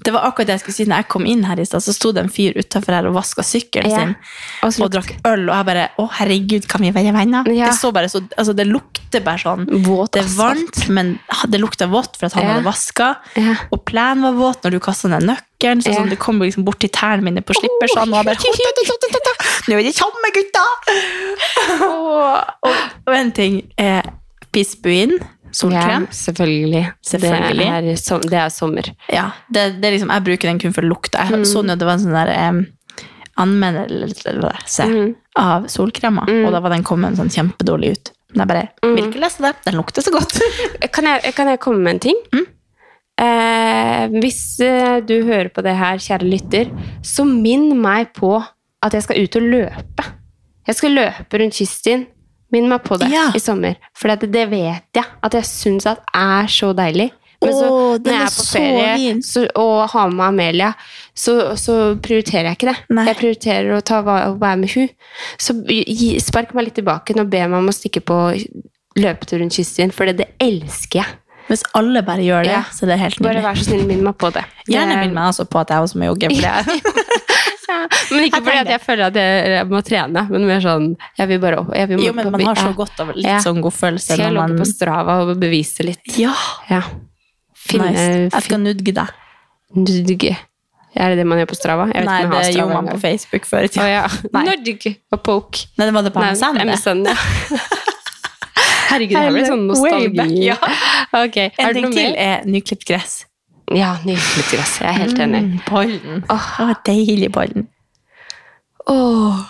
B: Det var akkurat det jeg skulle si når jeg kom inn her i stad, så sto det en fyr utafor her og vaska sykkelen
A: ja.
B: sin.
A: Og så
B: Og drakk øl, og jeg bare Å, herregud, kan vi være venner?
A: Ja.
B: Det, så bare, så, altså, det lukter bare sånn
A: Våt
B: Det er
A: asfalt.
B: varmt, men det lukta vått for at han
A: Ja.
B: hadde vaska.
A: Ja.
B: Og plenen var våt når du kasta ned nøkkelen. Så
A: Ja.
B: sånn, det kom liksom bort til tærne mine på slippersene. Og jeg bare Nå er det samme, gutta! og, og en ting er Pisbuin,
A: Ja,
B: solkrem.
A: selvfølgelig.
B: Selvfølgelig.
A: Det, er som, det er sommer.
B: Ja, det, det er liksom, jeg bruker den kun for lukta. Jeg så
A: Mm.
B: nå det var en sånn der em, anmeldelse
A: Mm.
B: av solkrema, og da var den kommet sånn kjempedårlig ut. Men jeg bare,
A: Mm.
B: vil ikke lese det, den lukter så godt.
A: Kan jeg, kan jeg komme med en ting?
B: Mm.
A: Eh, hvis eh, du hører på det her, kjære lytter, så minn meg på at jeg skal ut og løpe. Jeg skal løpe rundt kysten. Minn meg på det
B: Ja.
A: i sommer. For det, det vet jeg at jeg syns at er så deilig. Men så,
B: Åh, den
A: når jeg
B: er
A: er på
B: så
A: ferie
B: fin.
A: så, og har med Amelia, så, så prioriterer jeg ikke det.
B: Nei.
A: Jeg prioriterer å ta, va- å være med hun. Så gi, spark meg litt tilbake og be meg om å stikke på løpetur rundt kysten, for det, det elsker jeg.
B: Hvis alle bare gjør det,
A: Ja.
B: så det er helt
A: Bare
B: nydelig.
A: vær så snill, minn meg på det.
B: Gjerne
A: Det-
B: minn meg altså på at jeg også må jogge. For det er
A: Ja, men
B: Jeg
A: ikke fordi at
B: trenger
A: jeg føler at jeg, jeg må trene, men mer sånn Jeg vil bare opp. Jeg vil
B: Jo, men man har så godt av litt
A: Ja.
B: sånn god følelse
A: Skal jeg
B: når man
A: logge på Strava og bevise litt?
B: Ja,
A: Ja. eh, Finne
B: nice. Jeg
A: fin-
B: skal nudge deg.
A: Nudge. Er det det man gjør på Strava? Jeg vet
B: Nei,
A: ikke om
B: det
A: jeg har
B: gjorde
A: Strava
B: man på
A: engang.
B: Facebook før i
A: Å
B: tida.
A: ja.
B: Nei.
A: Nudge og poke.
B: Nei, det var det på
A: Nei,
B: MSN. det.
A: MSN, ja. Herregud, det
B: Jeg
A: her blir
B: er
A: sånn
B: way back,
A: nostalgi.
B: ja.
A: Ok,
B: En
A: er det
B: ting
A: noe
B: til
A: mer?
B: er nyklipt gress.
A: Ja, nydelig gress. Jeg er helt enig.
B: Mm, Pollen.
A: Åh.
B: Å, deilig pollen.
A: Åh.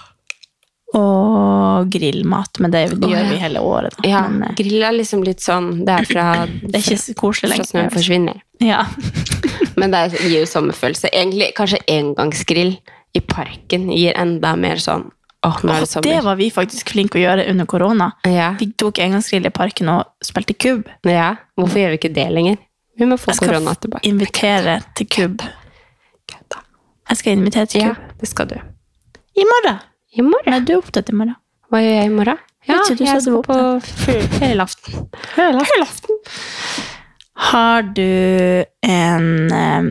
B: Og grillmat, men det gjør vi hele året. Da.
A: Ja,
B: Men, eh,
A: grill er liksom litt sånn Det er fra,
B: det er ikke så koselig
A: fra snøen
B: lenger.
A: forsvinner.
B: Ja.
A: Men det gir jo sommerfølelse. Egentlig, kanskje engangsgrill i parken gir enda mer sånn Åh, nå er det
B: Og det
A: sommer.
B: var vi faktisk flinke å gjøre under korona.
A: Ja.
B: Vi tok engangsgrill i parken og spilte kubb.
A: ja. Hvorfor gjør vi ikke det lenger? Vi må få
B: Jeg skal
A: korona tilbake.
B: invitere til kubb.
A: Da.
B: Jeg skal invitere til
A: Ja,
B: kubb.
A: det skal du.
B: I morgen!
A: I morgen?
B: Nei, du er opptatt i morgen.
A: Hva gjør jeg i morgen? Ja,
B: Vet ikke, du sa du
A: jeg skal
B: var
A: på ferielaften. Ferielaften.
B: Har du en eh,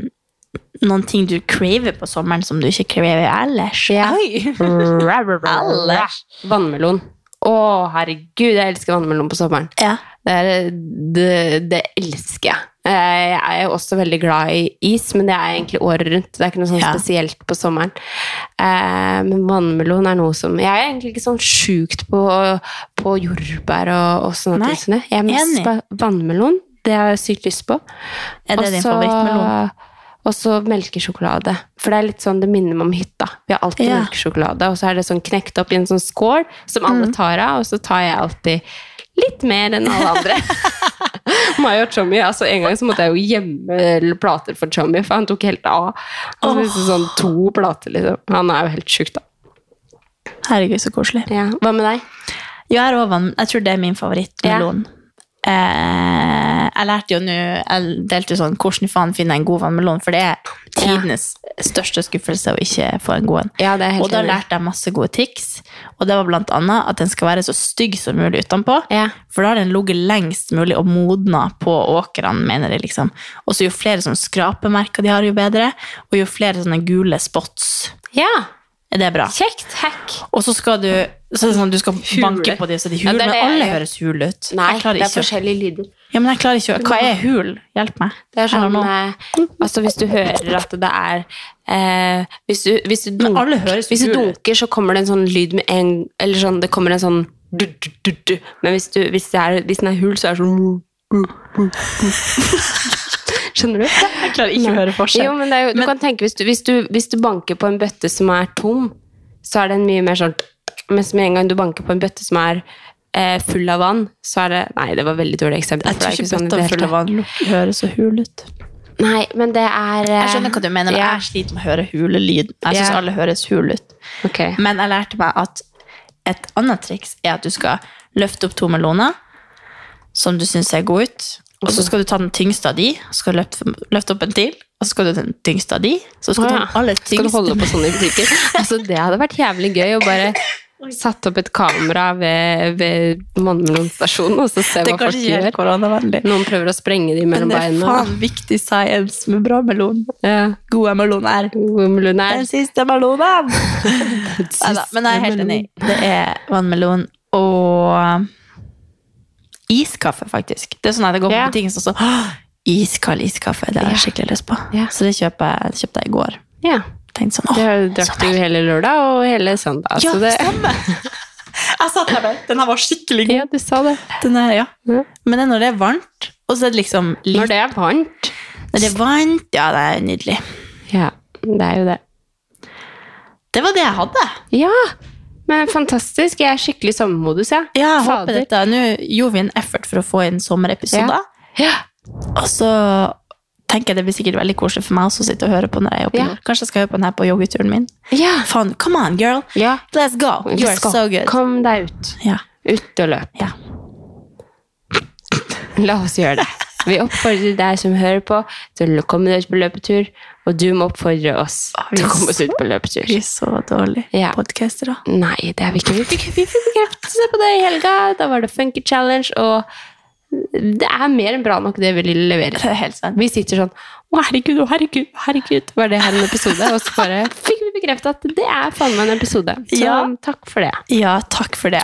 B: noen ting du craver på sommeren som du ikke craver ellers?
A: Ja. Mm,
B: Oi.
A: Ra, ra, ra, ra.
B: Alle.
A: Vannmelon. Å, herregud, jeg elsker vannmelon på sommeren.
B: Ja.
A: Det, er, det, det elsker jeg. Eh, Jeg er jo også veldig glad i is, men det er egentlig året rundt. Det er ikke noe sånn
B: Ja.
A: spesielt på sommeren. Eh, Men vannmelon er noe som Jeg er egentlig ikke sånn sjukt på, på jordbær og, og sånne
B: Nei,
A: ting. som det. Jeg er mest
B: enig.
A: på vannmelon. Det har jeg sykt lyst på.
B: Er det din
A: Også-
B: favorittmelon?
A: Og så melkesjokolade. For det er litt sånn, det minner meg om hytta. Vi har alltid
B: Ja.
A: melkesjokolade, og så er det sånn knekt opp i en sånn skål som alle tar av, og så tar jeg alltid litt mer enn alle andre. Meg og Tommy, altså En gang så måtte jeg jo gjemme plater for Tommy, for han tok helt av. Han spiste sånn to plater, liksom. Han er jo helt sjuk, da.
B: Herregud, så koselig.
A: Ja. Hva med deg?
B: Jeg, er også vann- jeg tror det er min favorittmelon. Eh, jeg lærte jo nå Jeg delte jo sånn Hvordan faen finner jeg en god vannmelon? For det er tidenes største skuffelse å ikke få en god en.
A: Ja, det er jeg
B: Og
A: helt
B: da
A: enig.
B: lærte jeg masse gode tics, og det var blant annet at den skal være så stygg som mulig utenpå,
A: Ja.
B: for da har den ligget lengst mulig og modna på åkrene, mener de liksom. Og så jo flere sånne skrapemerker de har, jo bedre, og jo flere sånne gule spots,
A: ja.
B: er det bra.
A: Kjekt. Hack.
B: Og så skal du, så er det sånn, du skal banke på dem, så de
A: Ja,
B: huler,
A: det er det
B: men alle
A: jeg-
B: høres hul ut.
A: Nei,
B: jeg
A: det
B: klarer
A: er
B: ikke å...
A: forskjellige lyder.
B: Ja, men jeg klarer ikke å... Hva er hul? Hjelp meg.
A: Det er
B: I don't
A: sånn,
B: know.
A: eh, altså Hvis du hører at det er eh, hvis, du, hvis, du
B: Men alle
A: dunker,
B: høres
A: hvis du
B: kule ut.
A: dunker, så kommer det en sånn lyd med en Eller sånn, det kommer en sånn du, du, du, du. Men hvis, du, hvis, det er, hvis den er hul, så er det sånn Skjønner du?
B: Jeg klarer ikke å høre forskjell.
A: Jo, men det er jo, du kan tenke, hvis du, hvis, du, hvis du banker på en bøtte som er tom, så er den mye mer sånn Mens med en gang du banker på en bøtte som er eh, full av vann, så er det Nei, det var veldig dårlig eksempel.
B: Jeg
A: for det er
B: tror ikke
A: sånn i
B: bøtta
A: det hele
B: full av vann høres så hul ut.
A: tatt. Nei, men det er eh,
B: Jeg skjønner hva du mener, men
A: ja.
B: jeg sliter med å høre hulelyd. Jeg synes
A: Ja.
B: alle høres hul ut.
A: Ok.
B: Men jeg lærte meg at et annet triks er at du skal løfte opp to meloner som du synes ser god ut, og så skal du ta den tyngste av de, så skal du løfte, løfte opp en til, og så skal du ta den tyngste av de, så skal du ta
A: Å ja.
B: den aller
A: Skal du holde
B: tyngste.
A: på sånn i butikker? Altså, det hadde vært jævlig gøy å bare satt opp et kamera ved, ved vannmelonstasjonen og så se
B: Det er
A: hva folk
B: kanskje ikke
A: gjør.
B: helt koronavennlig,
A: Noen prøver å sprenge de
B: men
A: mellom
B: det er
A: beina.
B: faen viktig science med bra melon.
A: Ja.
B: God er melon er.
A: Vannmelon er
B: Den siste melonen! Neida,
A: siste
B: men jeg er helt
A: melon.
B: enig. Det er vannmelon og iskaffe, faktisk. Det er sånn at jeg går på
A: Ja.
B: butikken og så «Åh, Iskald iskaffe, det har jeg skikkelig lyst på.
A: Ja.
B: Så det kjøper jeg- det kjøpte jeg i går.
A: Ja,
B: Tenkte sånn, åh,
A: det har-
B: så
A: drakk du
B: deilig.
A: hele lørdag og hele søndag.
B: Ja,
A: så det,
B: stemmer! Jeg satt her med, den her var skikkelig god.
A: ja, du sa det.
B: Den her, ja.
A: Ja.
B: Men det er når det er varmt, og så er det liksom litt,
A: Når det er varmt.
B: når det er varmt, ja, det er nydelig.
A: Ja, det er jo det.
B: Det var det jeg hadde.
A: Ja, men fantastisk. Jeg er skikkelig i sommermodus, jeg.
B: Ja, jeg håper
A: Fader.
B: dette. Nå gjorde vi en effort for å få inn sommerepisoder.
A: Ja. Ja.
B: Og så tenker jeg det blir sikkert veldig koselig for meg også å sitte og høre på når jeg er oppe i
A: Ja.
B: nord. Kanskje jeg skal høre på den her på joggeturen min.
A: Ja.
B: Faen, come on, girl.
A: ja.
B: Let's go. You're
A: Let's go.
B: so good.
A: Kom deg ut.
B: Ja,
A: Ut og løp.
B: ja.
A: La oss gjøre det. Vi oppfordrer deg som hører på, til å komme deg ut på løpetur, og du må oppfordre oss til å komme oss ut på løpetur.
B: Vi er så dårlige
A: Ja.
B: podcastere.
A: Nei, det er vi ikke. Vi fikk, vi fikk bekreftelse på det i helga. Da var det Funky Challenge, og det er mer enn bra nok det vi leverer.
B: Det er helt sant.
A: Vi sitter sånn Å, herregud, å, herregud, å, herregud. Var det her en episode? Og så bare fikk vi bekreftet at det er faen meg en episode. Så
B: Ja.
A: takk for det.
B: Ja, takk for det.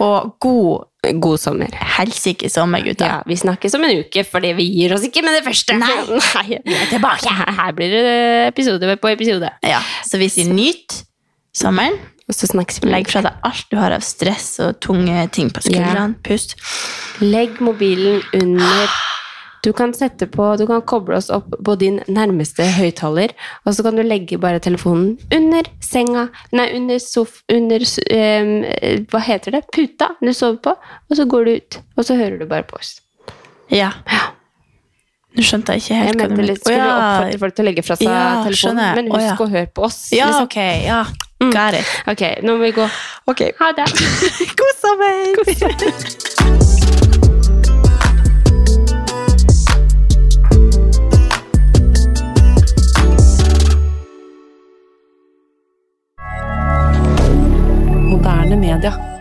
B: Og god
A: God sommer.
B: helsike sommer, gutter.
A: Ja, vi snakkes om en uke, fordi vi gir oss ikke med det første.
B: Nei.
A: Nei.
B: er tilbake.
A: Her, her blir det episode på episode.
B: Ja, så vi sier nyt sommeren.
A: Og så snakkes vi.
B: Legg fra deg alt du har av stress og tunge ting på skuldrene. Pust.
A: Legg mobilen under Du kan sette på, du kan koble oss opp på din nærmeste høyttaler, og så kan du legge bare telefonen under senga, nei, under sof... Under ehm, eh, Hva heter det? Puta du sover på, og så går du ut. Og så hører du bare på oss.
B: Ja. Nå skjønte jeg ikke
A: Jeg
B: helt
A: mente litt,
B: Å,
A: skulle
B: ja.
A: oppfordre folk til å legge fra seg
B: Ja,
A: telefonen,
B: skjønner jeg.
A: men husk
B: Å, ja.
A: å høre på oss.
B: Ja,
A: liksom.
B: ok. Ja. Got it.
A: Ok, nå må vi gå.
B: Ok.
A: Ha det.
B: God sommer!
C: Moderne media.